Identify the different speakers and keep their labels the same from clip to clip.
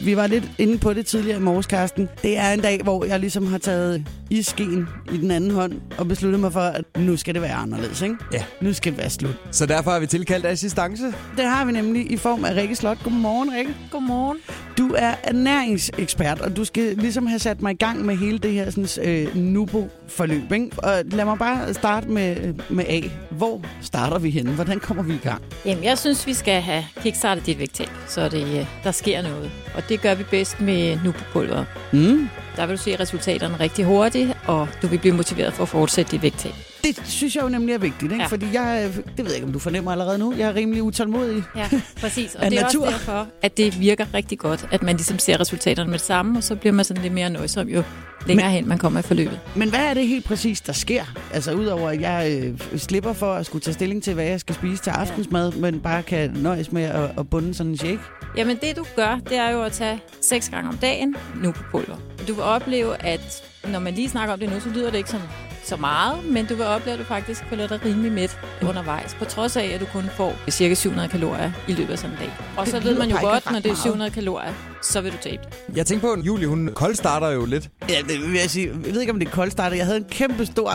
Speaker 1: Vi var lidt inde på det tidligere i morges, Karsten. Det er en dag, hvor jeg ligesom har taget iskeen i den anden hånd og besluttet mig for, at nu skal det være anderledes, ikke?
Speaker 2: Ja.
Speaker 1: Nu skal det være slut.
Speaker 2: Så derfor har vi tilkaldt assistance.
Speaker 1: Det har vi nemlig i form af Rikke Slot. Godmorgen, Rikke.
Speaker 3: Godmorgen.
Speaker 1: Du er ernæringsekspert, og du skal ligesom have sat mig i gang med hele det her sådan, øh, nubo-forløb. Ikke? Og lad mig bare starte med, øh, med A. Hvor starter vi henne? Hvordan kommer vi i gang?
Speaker 3: Jamen, jeg synes, vi skal have kickstartet dit vægttab, så det, øh, der sker noget. Og det gør vi bedst med nubopulver.
Speaker 1: Mm.
Speaker 3: Der vil du se resultaterne rigtig hurtigt, og du vil blive motiveret for at fortsætte dit vægttab.
Speaker 1: Det synes jeg jo nemlig er vigtigt, ikke? Ja.
Speaker 3: Ja.
Speaker 1: fordi jeg, øh, det ved jeg ikke, om du fornemmer allerede nu, jeg er rimelig utålmodig.
Speaker 3: Ja, præcis. Og
Speaker 1: Af
Speaker 3: det er
Speaker 1: natur.
Speaker 3: også derfor, at det virker rigtig godt, at man ligesom ser resultaterne med det samme, og så bliver man sådan lidt mere nøjsom, jo længere hen man kommer i forløbet.
Speaker 1: Men hvad er det helt præcis, der sker? Altså udover at jeg øh, slipper for at skulle tage stilling til, hvad jeg skal spise til aftensmad, men bare kan nøjes med at, at bunde sådan en shake.
Speaker 3: Jamen det du gør, det er jo at tage seks gange om dagen nu på pulver. Du vil opleve, at når man lige snakker om det nu, så lyder det ikke som så meget, men du vil opleve, at du faktisk føler dig rimelig mæt undervejs, på trods af, at du kun får cirka 700 kalorier i løbet af sådan en dag. Og
Speaker 1: Det
Speaker 3: så ved
Speaker 1: lyder
Speaker 3: man jo
Speaker 1: bare ikke
Speaker 3: godt,
Speaker 1: ret
Speaker 3: når det er
Speaker 1: meget.
Speaker 3: 700 kalorier, så vil du tabe.
Speaker 2: Jeg tænker på, at Julie, hun koldstarter jo lidt.
Speaker 1: Ja, det vil jeg sige. Jeg ved ikke, om det er koldstartet. Jeg havde en kæmpe stor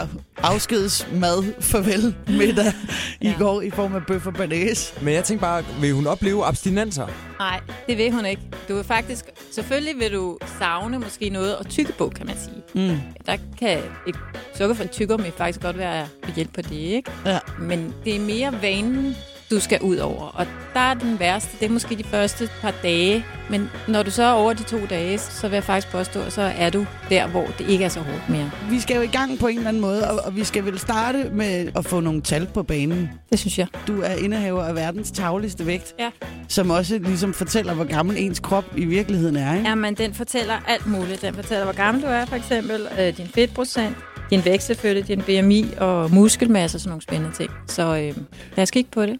Speaker 1: afskedsmad, farvel, middag ja. i
Speaker 3: Ja.
Speaker 1: går i form af bøf og banæs.
Speaker 2: Men jeg tænker bare, vil hun opleve abstinenser?
Speaker 3: Nej, det vil hun ikke. Du vil faktisk, selvfølgelig vil du savne måske noget at tykke på, kan man sige.
Speaker 1: Mm.
Speaker 3: Der kan et sukker for en tykkermi faktisk godt være at hjælpe på det, ikke?
Speaker 1: Ja.
Speaker 3: Men det er mere vanen, du skal ud over. Og der er den værste, det er måske de første par dage. Men når du så er over de to dage, så vil jeg faktisk påstå, at så er du der, hvor det ikke er så hårdt mere.
Speaker 1: Vi skal jo i gang på en eller anden måde, og, og vi skal vel starte med at få nogle tal på banen.
Speaker 3: Det synes jeg.
Speaker 1: Du er indehaver af verdens tavligste vægt,
Speaker 3: Ja.
Speaker 1: som også ligesom fortæller, hvor gammel ens krop i virkeligheden er. Ikke?
Speaker 3: Jamen, den fortæller alt muligt. Den fortæller, hvor gammel du er, for eksempel, øh, din fedtprocent, din vægt selvfølgelig, din BMI og muskelmasse og sådan nogle spændende ting. Så øh, lad os kigge på det.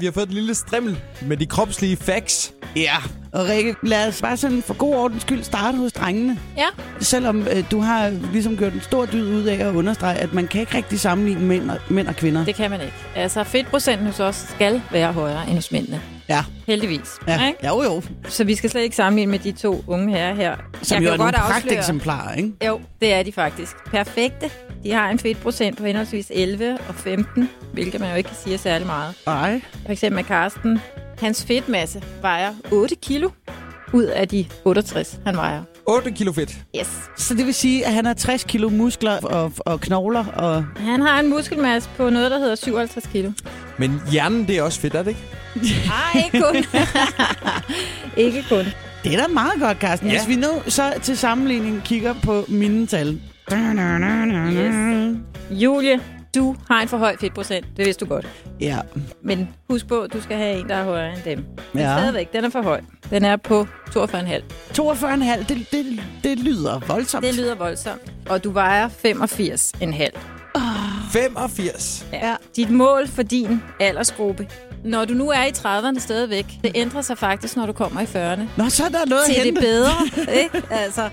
Speaker 2: Vi har fået et lille strimmel med de kropslige facts.
Speaker 1: Ja. Og Rikke, lad os bare sådan for god ordens skyld starte hos drengene.
Speaker 3: Ja,
Speaker 1: Selvom øh, du har ligesom gjort en stor dyd ud af at understrege, at man kan ikke rigtig sammenligne mænd og, mænd og kvinder.
Speaker 3: det kan man ikke. Altså, fedtprocenten hos os skal være højere end hos mændene.
Speaker 1: Ja.
Speaker 3: Heldigvis.
Speaker 1: Ja,
Speaker 3: Ikke?
Speaker 1: jo jo.
Speaker 3: Så vi skal slet ikke sammenligne med de to unge herrer her.
Speaker 1: Som
Speaker 3: kan
Speaker 1: jo er
Speaker 3: godt
Speaker 1: nogle
Speaker 3: afsløre-
Speaker 1: pragteksemplarer, ikke?
Speaker 3: Jo, det er de faktisk. Perfekte. De har en fedtprocent på henholdsvis 11 og 15, hvilket man jo ikke kan sige er særlig meget.
Speaker 1: Nej.
Speaker 3: For eksempel med Karsten. Hans fedtmasse vejer 8 kilo ud af de 68, han vejer.
Speaker 2: 8 kilo fedt.
Speaker 3: Yes.
Speaker 1: Så det vil sige, at han har 60 kilo muskler og, og knogler, og
Speaker 3: Han har en muskelmasse på noget, der hedder 57 kilo.
Speaker 2: Men hjernen, det er også fedt, er det ikke?
Speaker 3: Nej, ikke kun. ikke kun.
Speaker 1: det er da meget godt, Carsten. Ja.
Speaker 2: Ja.
Speaker 1: Hvis vi nu så til sammenligning kigger på mine tal.
Speaker 3: Yes. Julie, du har en for høj fedtprocent. Det vidste du godt.
Speaker 1: Ja,
Speaker 3: Men husk på, du skal have en, der er højere end dem. Men
Speaker 1: Ja.
Speaker 3: ja. stadigvæk, den er for høj. Den er på 42,5.
Speaker 1: 42,5, det, det, det lyder voldsomt.
Speaker 3: Det lyder voldsomt. Og du vejer 85,5.
Speaker 2: 85.
Speaker 3: Ja. Dit mål for din aldersgruppe, når du nu er i 30'erne stadigvæk, det ændrer sig faktisk, når du kommer i 40'erne.
Speaker 1: Nå, så er der noget at
Speaker 3: Til det
Speaker 1: hente.
Speaker 3: bedre, ikke? Altså,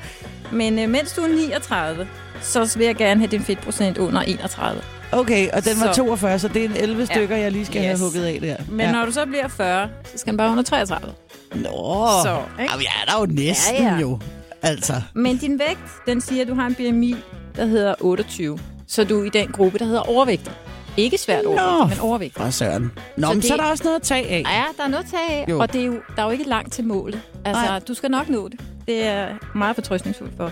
Speaker 3: men øh, mens du er 39, så vil jeg gerne have din fedtprocent under 31.
Speaker 1: Okay, og den var
Speaker 3: Så.
Speaker 1: 42, så det er en 11 stykker, jeg lige skal have
Speaker 3: Yes.
Speaker 1: hugget af der.
Speaker 3: Men ja. når du så bliver 40, så skal den bare under 33.
Speaker 1: Nå, så,
Speaker 3: Så,
Speaker 1: ikke?
Speaker 3: ikke?
Speaker 1: Jamen, jeg er der jo næsten ja,
Speaker 3: Ja,
Speaker 1: ja.
Speaker 3: ja.
Speaker 1: jo. Altså,
Speaker 3: Men din vægt, den siger, at du har en BMI, der hedder 28. Så du er i den gruppe, der hedder overvægtig. Ikke svært overvægtig, men overvægtig.
Speaker 1: for søren. Nå, så
Speaker 3: Så
Speaker 1: men det...
Speaker 3: det-
Speaker 1: så er der også noget at tage af.
Speaker 3: Ja, der er noget at tage af,
Speaker 1: Jo.
Speaker 3: og det er jo, der er jo ikke langt til målet. Altså,
Speaker 1: Nej.
Speaker 3: Ej. du skal nok nå det. Det er meget fortrøstningsfuldt for.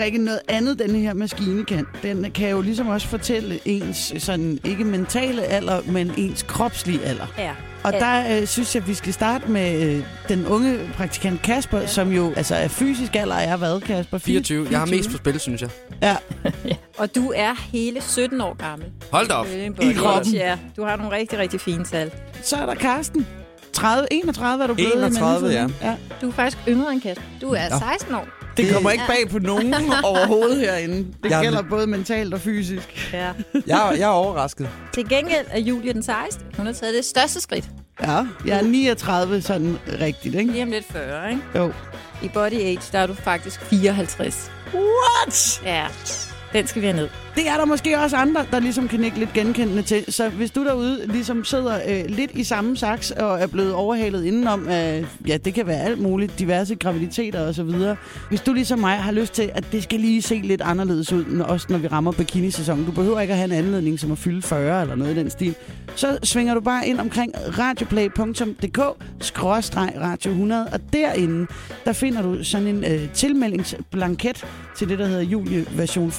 Speaker 1: Rikke, noget andet, den her maskine kan, den kan jo ligesom også fortælle ens, sådan ikke mentale alder, men ens kropslige alder.
Speaker 3: Ja.
Speaker 1: Og
Speaker 3: Ja.
Speaker 1: der øh, synes jeg, vi skal starte med øh, den unge praktikant Kasper, ja. som jo altså er fysisk alder, er hvad, Kasper?
Speaker 4: 24. Jeg har mest på
Speaker 1: 24.
Speaker 4: spil, synes jeg.
Speaker 3: Og du er hele 17 år gammel.
Speaker 4: Hold da op.
Speaker 3: Selvfølgelig en
Speaker 1: I
Speaker 3: body
Speaker 1: kroppen.
Speaker 3: watch, Ja, du har nogle rigtig, rigtig fine tal.
Speaker 1: Så er der Karsten. 30, 31 er du blevet i
Speaker 2: 31,
Speaker 1: mellemtiden. ja.
Speaker 3: Du er faktisk yngre end Kasper. Du er 16 år.
Speaker 1: Det kommer ikke bag på nogen overhovedet herinde. Det
Speaker 2: Jeg-
Speaker 1: gælder både mentalt og fysisk.
Speaker 3: Ja.
Speaker 2: Jeg, jeg er overrasket.
Speaker 3: Til gengæld er Julie den 16. Hun har taget det største skridt.
Speaker 1: Ja, jeg er 39 sådan rigtigt, ikke?
Speaker 3: Lige om lidt 40, ikke?
Speaker 1: Jo.
Speaker 3: I body age, der er du faktisk 54.
Speaker 1: What?
Speaker 3: Ja, den skal vi have ned.
Speaker 1: Det er der måske også andre, der ligesom kan nikke lidt genkendende til. Så hvis du derude ligesom sidder øh, lidt i samme saks og er blevet overhalet indenom, øh, ja, det kan være alt muligt, diverse graviditeter og så videre. Hvis du ligesom mig har lyst til, at det skal lige se lidt anderledes ud, når, også når vi rammer bikinisæsonen. Du behøver ikke at have en anledning som at fylde 40 eller noget i den stil. Så svinger du bare ind omkring radioplay.dk-radio100, og derinde, der finder du sådan en øh, tilmeldingsblanket til det, der hedder Julie version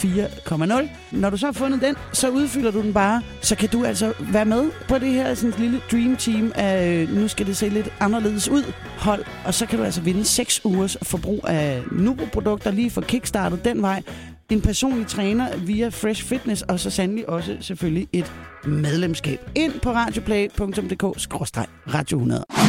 Speaker 1: 4.0. Når du så har fundet den, så udfylder du den bare. Så kan du altså være med på det her sådan et lille dream team af, øh, nu skal det se lidt anderledes ud, hold. Og så kan du altså vinde 6 ugers forbrug af Nubo-produkter lige for kickstartet den vej. En personlig træner via Fresh Fitness, og så sandelig også selvfølgelig et medlemskab. Ind på radioplay.dk-radio100.